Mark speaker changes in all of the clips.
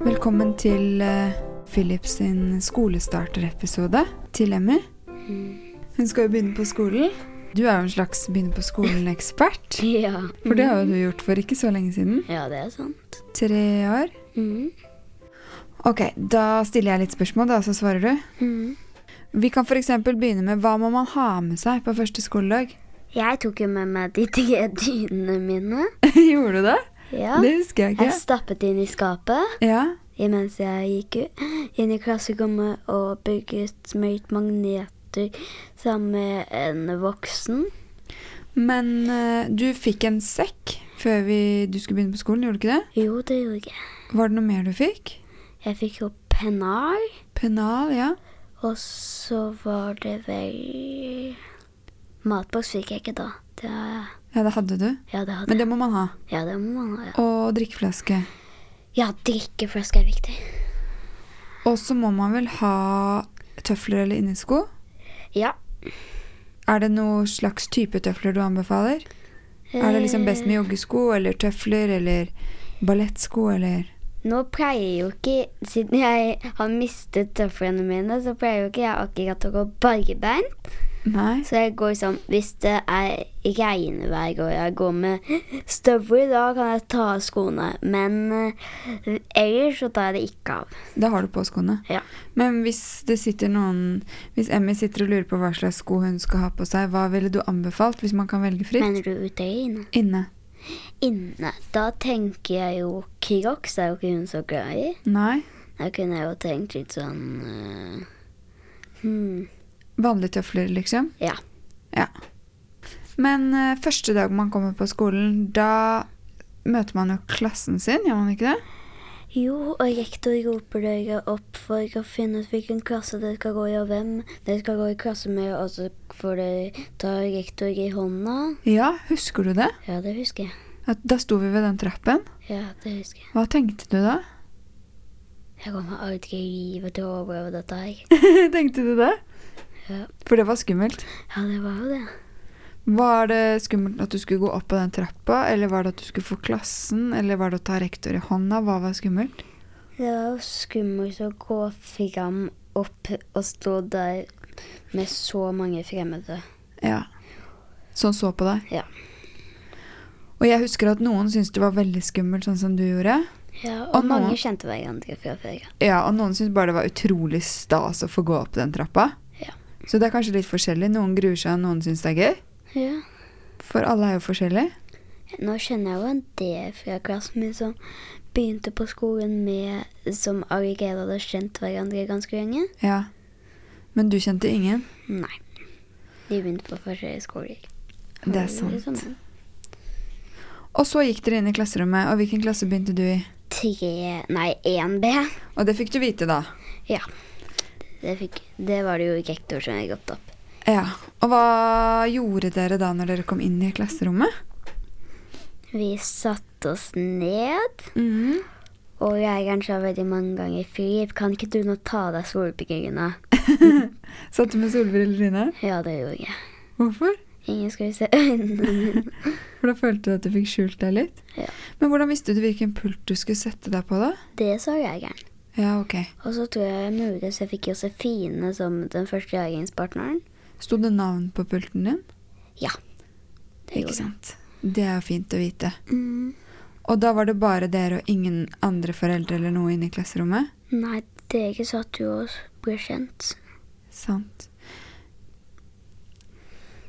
Speaker 1: Velkommen til eh, Philip sin skolestarterepisode til Emmy. Hun skal jo begynne på skolen. Du er jo en slags begynne på skolen-ekspert.
Speaker 2: Ja.
Speaker 1: For det har jo du gjort for ikke så lenge siden.
Speaker 2: ja, det er sant.
Speaker 1: Tre år.
Speaker 2: Mm.
Speaker 1: Ok, da stiller jeg litt spørsmål, da, så svarer du.
Speaker 2: Mm.
Speaker 1: Vi kan f.eks. begynne med hva må man ha med seg på første skoledag?
Speaker 2: Jeg tok jo med meg de tre dynene mine.
Speaker 1: Gjorde du det?
Speaker 2: Ja.
Speaker 1: Det husker jeg
Speaker 2: Jeg
Speaker 1: ikke.
Speaker 2: stappet inn i skapet
Speaker 1: Ja,
Speaker 2: imens jeg gikk u- inn i klasserommet og bygget smørt magneter sammen med en voksen.
Speaker 1: Men eh, du fikk en sekk før vi, du skulle begynne på skolen, gjorde du ikke det?
Speaker 2: Jo, det gjorde jeg.
Speaker 1: Var det noe mer du fikk?
Speaker 2: Jeg fikk jo pennar,
Speaker 1: Pennal, ja.
Speaker 2: og så var det vel Matboks fikk jeg ikke da. Det,
Speaker 1: Ja, det hadde du.
Speaker 2: ja, det hadde
Speaker 1: Men
Speaker 2: jeg.
Speaker 1: det må man ha.
Speaker 2: Ja, det må man ha. ja.
Speaker 1: Og drikkeflaske.
Speaker 2: Ja, drikkeflaske er viktig.
Speaker 1: Og så må man vel ha tøfler eller innesko.
Speaker 2: Ja.
Speaker 1: Er det noe slags type tøfler du anbefaler? Er det liksom best med joggesko eller tøfler eller ballettsko eller
Speaker 2: Nå pleier jo ikke Siden jeg har mistet tøflene mine, så pleier jo ikke jeg akkurat å gå barbeint.
Speaker 1: Nei.
Speaker 2: Så jeg går sånn Hvis det er regnvær og jeg går med støvler, da kan jeg ta av skoene. Men eh, ellers så tar jeg det ikke av.
Speaker 1: Da har du på skoene.
Speaker 2: Ja.
Speaker 1: Men hvis det sitter noen Hvis Emmy sitter og lurer på hva slags sko hun skal ha på seg, hva ville du anbefalt hvis man kan velge fritt?
Speaker 2: Mener du ute eller inne?
Speaker 1: Inne.
Speaker 2: Inne. Da tenker jeg jo Crocs er jo ikke hun så glad i.
Speaker 1: Nei.
Speaker 2: Da kunne jeg jo tenkt litt sånn eh, hmm,
Speaker 1: Vanlige tøfler, liksom.
Speaker 2: Ja.
Speaker 1: Ja. Men eh, første dag man kommer på skolen, da møter man jo klassen sin, gjør man ikke det?
Speaker 2: Jo, og rektor roper dere opp for å finne ut hvilken klasse dere skal gå i, og hvem dere skal gå i klasse med, og så får dere ta rektor i hånda.
Speaker 1: Ja, husker du det?
Speaker 2: Ja, det husker jeg.
Speaker 1: At da sto vi ved den trappen.
Speaker 2: Ja, det husker jeg.
Speaker 1: Hva tenkte du da?
Speaker 2: Jeg kommer aldri i livet til å overleve dette her.
Speaker 1: tenkte du det?
Speaker 2: Ja.
Speaker 1: For det var skummelt.
Speaker 2: Ja, det var jo det.
Speaker 1: Var det skummelt at du skulle gå opp på den trappa, eller var det at du skulle få klassen, eller var det å ta rektor i hånda? Hva var skummelt?
Speaker 2: Det var jo skummelt å gå fram opp og stå der med så mange fremmede.
Speaker 1: Ja. Sånn så på deg?
Speaker 2: Ja.
Speaker 1: Og jeg husker at noen syntes det var veldig skummelt, sånn som du gjorde.
Speaker 2: Ja,
Speaker 1: Og
Speaker 2: og
Speaker 1: nå-
Speaker 2: mange kjente hverandre fra før. ja.
Speaker 1: Ja, og noen syntes bare det var utrolig stas å få gå opp den trappa.
Speaker 2: Ja.
Speaker 1: Så det er kanskje litt forskjellig. Noen gruer seg, og noen syns det er gøy.
Speaker 2: Ja.
Speaker 1: For alle er jo forskjellige.
Speaker 2: Nå kjenner jeg jo en del fra klassen min som begynte på skolen med Som allerede hadde kjent hverandre ganske lenge.
Speaker 1: Ja. Men du kjente ingen?
Speaker 2: Nei. De begynte på forskjellige skoler.
Speaker 1: Det er
Speaker 2: Hører du
Speaker 1: sant.
Speaker 2: sånn?
Speaker 1: Og så gikk dere inn i klasserommet, og hvilken klasse begynte du i?
Speaker 2: Tre Nei, 1B.
Speaker 1: Og det fikk du vite, da.
Speaker 2: Ja. Det, fikk, det var det jo rektor som jeg opp.
Speaker 1: Ja. Og hva gjorde dere da når dere kom inn i klasserommet?
Speaker 2: Vi satte oss ned,
Speaker 1: Mhm.
Speaker 2: og læreren sa veldig mange ganger Filip, kan ikke du nå ta av deg solbrillene?
Speaker 1: Satt du med solbriller inne?
Speaker 2: Ja, det gjorde jeg.
Speaker 1: Hvorfor?
Speaker 2: Ingen skulle se øynene mine.
Speaker 1: For da følte du at du fikk skjult deg litt?
Speaker 2: Ja.
Speaker 1: Men hvordan visste du hvilken pult du skulle sette deg på, da?
Speaker 2: Det sa læreren.
Speaker 1: Ja, ok.
Speaker 2: Og så tror jeg muligens jeg fikk Josefine som den første jagingspartneren.
Speaker 1: Sto det navn på pulten din?
Speaker 2: Ja. Det
Speaker 1: Ikke
Speaker 2: gjorde
Speaker 1: sant? Det er jo fint å vite.
Speaker 2: Mm.
Speaker 1: Og da var det bare dere og ingen andre foreldre eller noe inne i klasserommet?
Speaker 2: Nei, dere satt jo og ble kjent.
Speaker 1: Sant.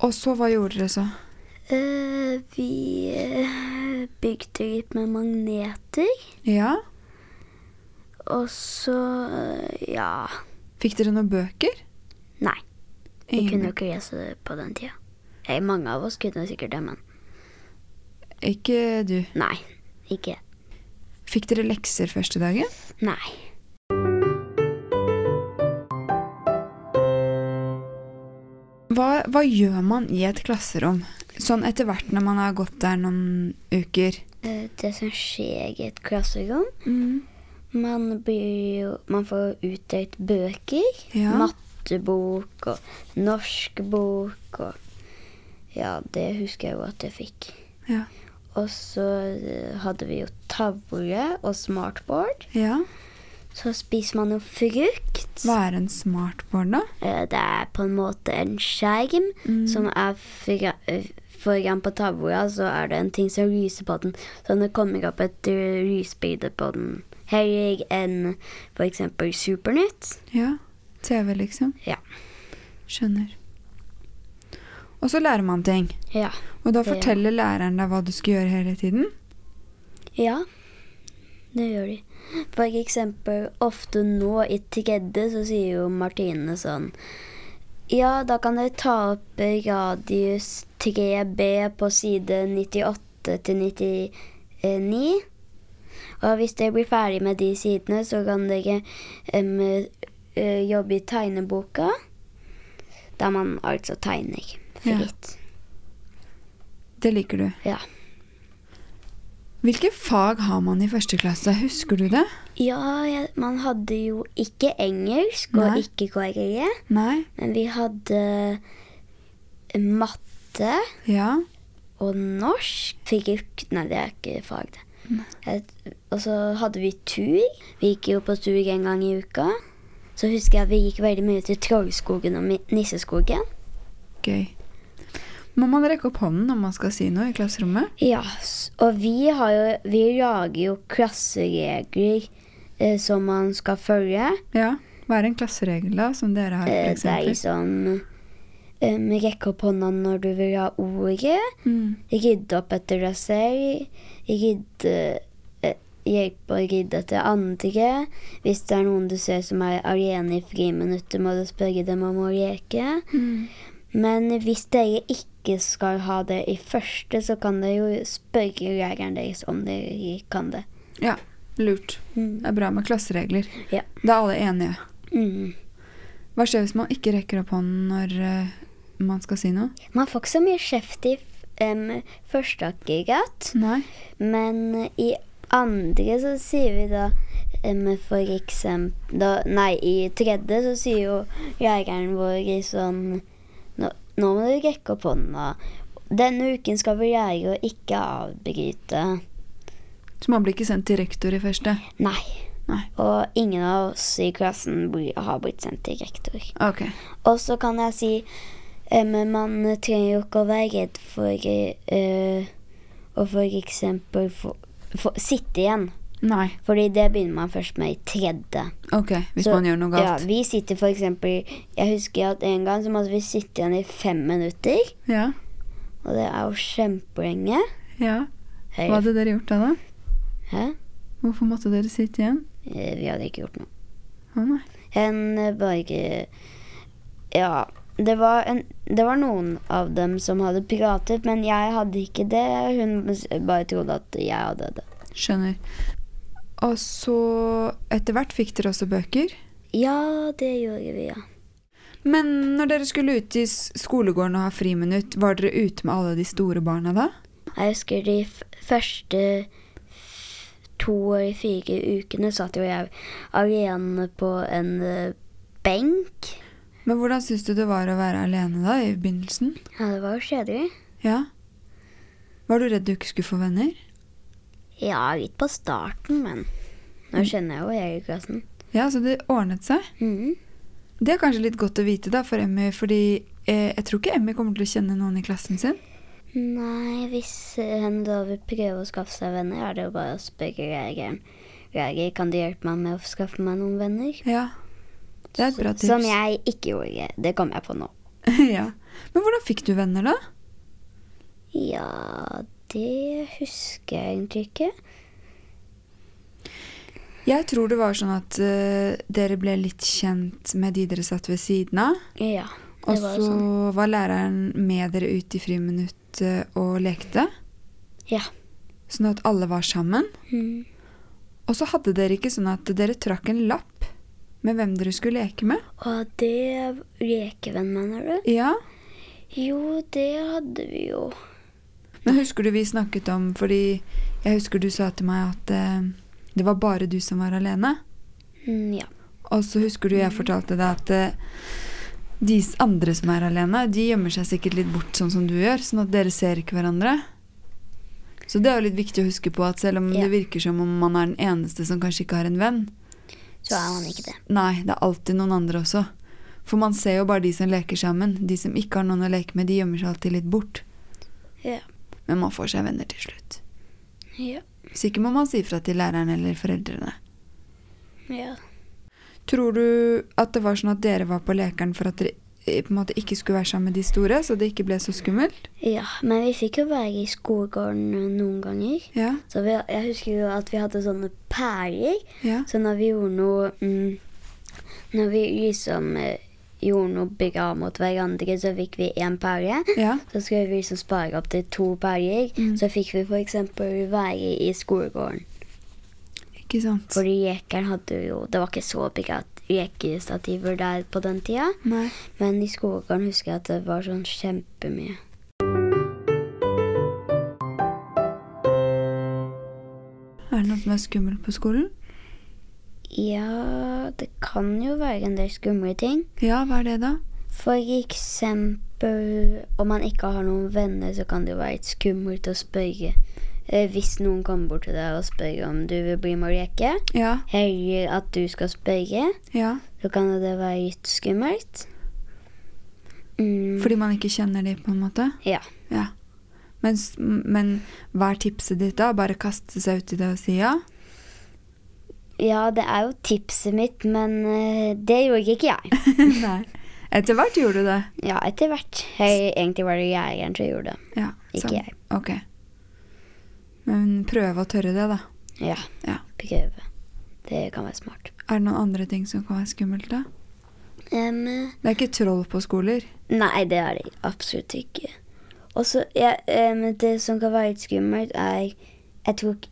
Speaker 1: Og så, hva gjorde dere så?
Speaker 2: Eh, vi eh, bygde litt med magneter,
Speaker 1: Ja,
Speaker 2: og så eh, Ja.
Speaker 1: fikk dere noen bøker?
Speaker 2: Nei, vi
Speaker 1: Ingen
Speaker 2: kunne jo
Speaker 1: bøker.
Speaker 2: ikke lese det på den tida. Eh, mange av oss kunne sikkert det, men
Speaker 1: Ikke du.
Speaker 2: nei. Ikke
Speaker 1: Fikk dere lekser første dagen?
Speaker 2: Nei.
Speaker 1: Hva, hva gjør man i et klasserom? Sånn etter hvert når man har gått der noen uker.
Speaker 2: Eh, det som skjer i et klasserom
Speaker 1: Mm.
Speaker 2: Man blir jo Man får utdelt bøker.
Speaker 1: Ja.
Speaker 2: Mattebok og norskbok og Ja, det husker jeg jo at jeg fikk.
Speaker 1: Ja.
Speaker 2: Og så eh, hadde vi jo tavle og smartboard.
Speaker 1: ja.
Speaker 2: Så spiser man jo frukt.
Speaker 1: Hva er en smartboard, da?
Speaker 2: Eh, Det er på en måte en skjerm
Speaker 1: Mm.
Speaker 2: som er fra, eh, foran på tavla, så er det en ting som lyser på den. Så det kommer opp et eh, lysbilde på den heller enn f.eks. Supernytt.
Speaker 1: Ja. TV, liksom.
Speaker 2: Ja.
Speaker 1: Skjønner. Og så lærer man ting.
Speaker 2: Ja.
Speaker 1: Og da
Speaker 2: Det-
Speaker 1: forteller læreren deg hva du skal gjøre hele tiden.
Speaker 2: Ja, det gjør de. For eksempel ofte nå i tredje så sier jo Martine sånn Ja, da kan dere ta opp radius 3B på side 98 til 99. Og hvis dere blir ferdig med de sidene, så kan dere em, eh, jobbe i tegneboka. Der man altså tegner
Speaker 1: Ja.
Speaker 2: fritt.
Speaker 1: Det liker du.
Speaker 2: Ja.
Speaker 1: Hvilke fag har man i første klasse? Husker du det?
Speaker 2: Ja, jeg, man hadde jo ikke engelsk
Speaker 1: Nei.
Speaker 2: og ikke KRE,
Speaker 1: Nei?
Speaker 2: men vi hadde eh, matte
Speaker 1: Ja?
Speaker 2: og norsk. Fyrik, nei, det er ikke fag, det. Et- Og så hadde vi tur. Vi gikk jo på tur en gang i uka. Så husker jeg vi gikk veldig mye til Trollskogen og Mi- Nisseskogen.
Speaker 1: Gøy. Må man rekke opp hånden når man skal si noe i klasserommet?
Speaker 2: Ja, s- og vi, har jo, vi lager jo klasseregler eh, som man skal følge.
Speaker 1: Ja. Hva er en klasseregel, da, som dere har,
Speaker 2: Eh,
Speaker 1: for
Speaker 2: Det er
Speaker 1: eksempel?
Speaker 2: liksom um, rekke opp hånda når du vil ha ordet,
Speaker 1: Mm.
Speaker 2: rydde opp etter deg selv, rydde, eh, hjelpe å rydde etter andre. Hvis det er noen du ser som er alene i friminuttet, må du spørre dem om å leke.
Speaker 1: Mm.
Speaker 2: Men hvis dere ikke skal ha det i første, så kan dere jo spørre læreren deres om dere kan det.
Speaker 1: Ja. Lurt.
Speaker 2: Mm.
Speaker 1: Det er bra med klasseregler.
Speaker 2: Ja.
Speaker 1: Da er alle enige.
Speaker 2: Mm.
Speaker 1: Hva skjer hvis man ikke rekker opp hånden når eh, man skal si noe?
Speaker 2: Man får ikke så mye kjeft i um, første akkurat.
Speaker 1: Nei.
Speaker 2: Men eh, i andre så sier vi da em, for eksempel da, Nei, i tredje så sier jo læreren vår i sånn nå, nå må du rekke opp hånda. Denne uken skal vi lære å ikke avbryte.
Speaker 1: Så man blir ikke sendt til rektor i første?
Speaker 2: Nei.
Speaker 1: Nei.
Speaker 2: Og ingen av oss i klassen blir, har blitt sendt til rektor.
Speaker 1: Ok.
Speaker 2: Og så kan jeg si em, Man trenger jo ikke å være redd for eh, å for eksempel få, få sitte igjen.
Speaker 1: Nei.
Speaker 2: Fordi det begynner man først med i tredje.
Speaker 1: Ok, hvis
Speaker 2: Så-
Speaker 1: man gjør noe
Speaker 2: Ja,
Speaker 1: galt.
Speaker 2: vi sitter for eksempel, jeg husker at en gang så måtte vi sitte igjen i fem minutter,
Speaker 1: Ja.
Speaker 2: og det er jo kjempelenge.
Speaker 1: ja.
Speaker 2: Hei.
Speaker 1: Hva hadde dere gjort da, da?
Speaker 2: Hæ?
Speaker 1: Hvorfor måtte dere sitte igjen?
Speaker 2: Eh, Vi hadde ikke gjort noe.
Speaker 1: Å nei.
Speaker 2: En eh, bare, ja, det var, en, det var noen av dem som hadde pratet, men jeg hadde ikke det. Hun s- bare trodde at jeg hadde det.
Speaker 1: Skjønner. Og så etter hvert fikk dere også bøker.
Speaker 2: Ja, det gjorde vi, ja.
Speaker 1: Men når dere skulle ut i s- skolegården og ha friminutt, var dere ute med alle de store barna da?
Speaker 2: Jeg husker de f første f- to eller fire ukene satt jo jeg alene på en eh, benk.
Speaker 1: Men hvordan syns du det var å være alene da, i begynnelsen?
Speaker 2: Ja, det var jo kjedelig.
Speaker 1: Ja. Var du redd du ikke skulle få venner?
Speaker 2: Ja, litt på starten, men
Speaker 1: Mm.
Speaker 2: nå kjenner jeg jo hele klassen.
Speaker 1: Ja, så det ordnet seg.
Speaker 2: Mhm.
Speaker 1: Det er kanskje litt godt å vite da for Emmy, fordi eh, jeg tror ikke Emmy kommer til å kjenne noen i klassen sin.
Speaker 2: Nei, hvis hun da vil prøve å skaffe seg venner, er det jo bare å spørre læreren. Lærer, kan du hjelpe meg med å skaffe meg noen venner?
Speaker 1: Ja. Det er et bra tips.
Speaker 2: Som jeg ikke gjorde. Det kom jeg på nå.
Speaker 1: ja. Men hvordan fikk du venner, da?
Speaker 2: Ja, det husker jeg egentlig ikke.
Speaker 1: Jeg tror det var sånn at eh, dere ble litt kjent med de dere satt ved siden av.
Speaker 2: Ja,
Speaker 1: Og
Speaker 2: det var jo
Speaker 1: så
Speaker 2: sånn.
Speaker 1: var læreren med dere ut i friminuttet og lekte.
Speaker 2: Ja.
Speaker 1: Sånn at alle var sammen.
Speaker 2: Mm.
Speaker 1: Og så hadde dere ikke sånn at dere trakk en lapp med hvem dere skulle leke med.
Speaker 2: Og det lekevenn, mener du?
Speaker 1: Ja,
Speaker 2: Jo, det hadde vi jo.
Speaker 1: Men husker du vi snakket om Fordi jeg husker du sa til meg at eh, det var bare du som var alene.
Speaker 2: Mm, ja.
Speaker 1: Og så husker du
Speaker 2: Mm.
Speaker 1: jeg fortalte deg at eh, de s- andre som er alene, de gjemmer seg sikkert litt bort, sånn som du gjør, sånn at dere ser ikke hverandre. Så det er jo litt viktig å huske på at selv om
Speaker 2: Ja.
Speaker 1: det virker som om man er den eneste som kanskje ikke har en venn,
Speaker 2: så er han ikke det.
Speaker 1: Nei, det er alltid noen andre også. For man ser jo bare de som leker sammen. De som ikke har noen å leke med, de gjemmer seg alltid litt bort.
Speaker 2: Ja.
Speaker 1: Men man får seg venner til slutt.
Speaker 2: Ja.
Speaker 1: Hvis ikke må man si fra til læreren eller foreldrene.
Speaker 2: ja.
Speaker 1: Tror du at det var sånn at dere var på lekeren for at dere eh, på en måte ikke skulle være sammen med de store, så det ikke ble så skummelt?
Speaker 2: Ja, men vi fikk jo være i skolegården eh, noen ganger.
Speaker 1: Ja.
Speaker 2: Så vi, jeg husker jo at vi hadde sånne pærer.
Speaker 1: Ja.
Speaker 2: Så når vi gjorde noe mm, Når vi liksom eh, gjorde noe bra mot hverandre, så fikk vi én pære.
Speaker 1: Ja.
Speaker 2: Så skulle vi liksom spare opp til to pærer.
Speaker 1: Mm.
Speaker 2: Så fikk vi f.eks. være i skolegården.
Speaker 1: Ikke sant?
Speaker 2: Fordi jekeren hadde jo Det var ikke så bra jekestativer der på den tida.
Speaker 1: Nei.
Speaker 2: Men i skolegården husker jeg at det var sånn kjempemye.
Speaker 1: Er det noe som er skummelt på skolen?
Speaker 2: Ja, det kan jo være en del skumle ting.
Speaker 1: Ja, hva er det da?
Speaker 2: For eksempel om man ikke har noen venner, så kan det jo være litt skummelt å spørre. eh, Hvis noen kommer bort til deg og spør om du vil bli med å leke,
Speaker 1: Ja.
Speaker 2: eller at du skal spørre,
Speaker 1: Ja.
Speaker 2: så kan jo det være litt skummelt. Mm,
Speaker 1: Fordi man ikke kjenner de på en måte?
Speaker 2: Ja.
Speaker 1: Ja. Men, s- men hva er tipset ditt, da? Bare kaste seg uti det og si ja?
Speaker 2: ja, det er jo tipset mitt, men eh, det gjorde ikke jeg.
Speaker 1: Nei. Etter hvert gjorde du det.
Speaker 2: Ja, etter hvert. Jeg, egentlig var det jegeren som gjorde det,
Speaker 1: Ja,
Speaker 2: ikke
Speaker 1: sant.
Speaker 2: jeg.
Speaker 1: Ok. Men prøve å tørre det, da.
Speaker 2: Ja,
Speaker 1: Ja.
Speaker 2: prøve. Det kan være smart.
Speaker 1: Er det noen andre ting som kan være skummelt, da?
Speaker 2: Em,
Speaker 1: Det er ikke troll på skoler.
Speaker 2: nei, det er det absolutt ikke. Og så, ja, em, det som kan være litt skummelt, er Jeg tror ikke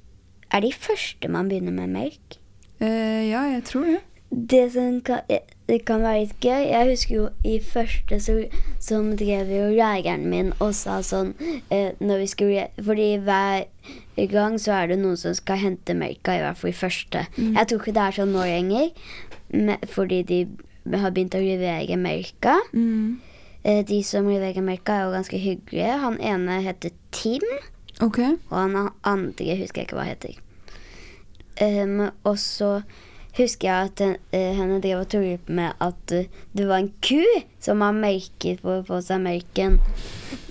Speaker 2: Er de første man begynner med melk?
Speaker 1: Eh, ja, jeg tror det.
Speaker 2: Det som kan, eh, det kan være litt gøy Jeg husker jo i første så, som drev jo læreren min og sa sånn eh, når vi skulle, Fordi hver gang så er det noen som skal hente melka, i hvert fall i første. Jeg tror ikke det er sånn nå lenger, men- fordi de har begynt å levere melka.
Speaker 1: Mm.
Speaker 2: Eh, De som leverer melka, er jo ganske hyggelige. Han ene heter Tim,
Speaker 1: Ok.
Speaker 2: og han an- andre husker jeg ikke hva heter. Em, og så husker jeg at eh, henne drev og tullet med at eh, det var en ku som har melket for å få seg melken.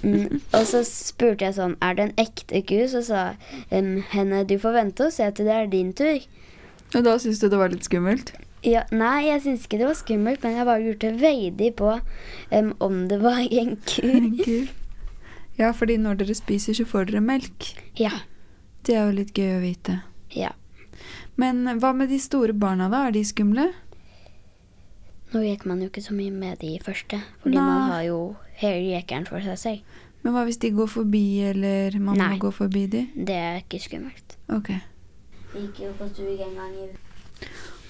Speaker 2: Mm, og så spurte jeg sånn Er det en ekte ku? Så sa em, henne du får vente og se til det er din tur.
Speaker 1: Og da syns du det var litt skummelt?
Speaker 2: Ja, nei, jeg syntes ikke det var skummelt, men jeg bare lurte veldig på em, om det var en ku.
Speaker 1: Kult. Ja, fordi når dere spiser, så får dere melk.
Speaker 2: Ja.
Speaker 1: Det er jo litt gøy å vite.
Speaker 2: Ja.
Speaker 1: Men hva med de store barna, da? Er de skumle?
Speaker 2: Nå leker man jo ikke så mye med de første, fordi
Speaker 1: Nei.
Speaker 2: man har jo hele lekeren for seg selv.
Speaker 1: Men hva hvis de går forbi, eller man
Speaker 2: Nei.
Speaker 1: må gå forbi de?
Speaker 2: Det er ikke skummelt.
Speaker 1: Ok.
Speaker 2: Vi gikk jo på stug en gang i uka.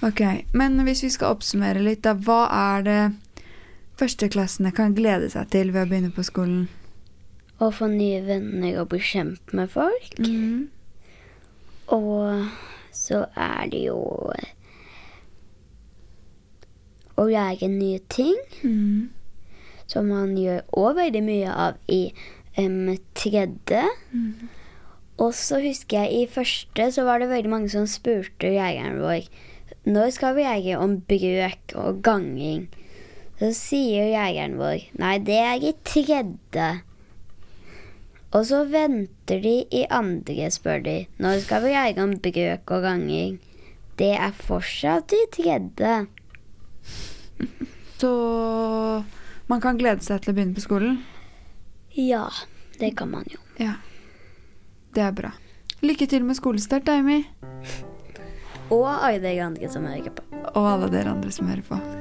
Speaker 1: Ok, Men hvis vi skal oppsummere litt, da. Hva er det førsteklassene kan glede seg til ved å begynne på skolen?
Speaker 2: Å få nye venner og bli kjent med folk.
Speaker 1: Mm.
Speaker 2: Og så er det jo å lære nye ting,
Speaker 1: Mm.
Speaker 2: som man gjør òg veldig mye av i em, tredje.
Speaker 1: Mm.
Speaker 2: Og så husker jeg i første så var det veldig mange som spurte jegeren vår når skal vi jege om brøk og ganging. Så sier jegeren vår nei, det er i tredje. Og så venter de i andre, spør de. Når skal vi jege om brøk og ganging? Det er fortsatt i tredje.
Speaker 1: Så man kan glede seg til å begynne på skolen?
Speaker 2: Ja, det kan man jo.
Speaker 1: Ja. Det er bra. Lykke til med skolestart, Amy.
Speaker 2: Og alle de andre som hører på.
Speaker 1: Og alle dere andre som hører på.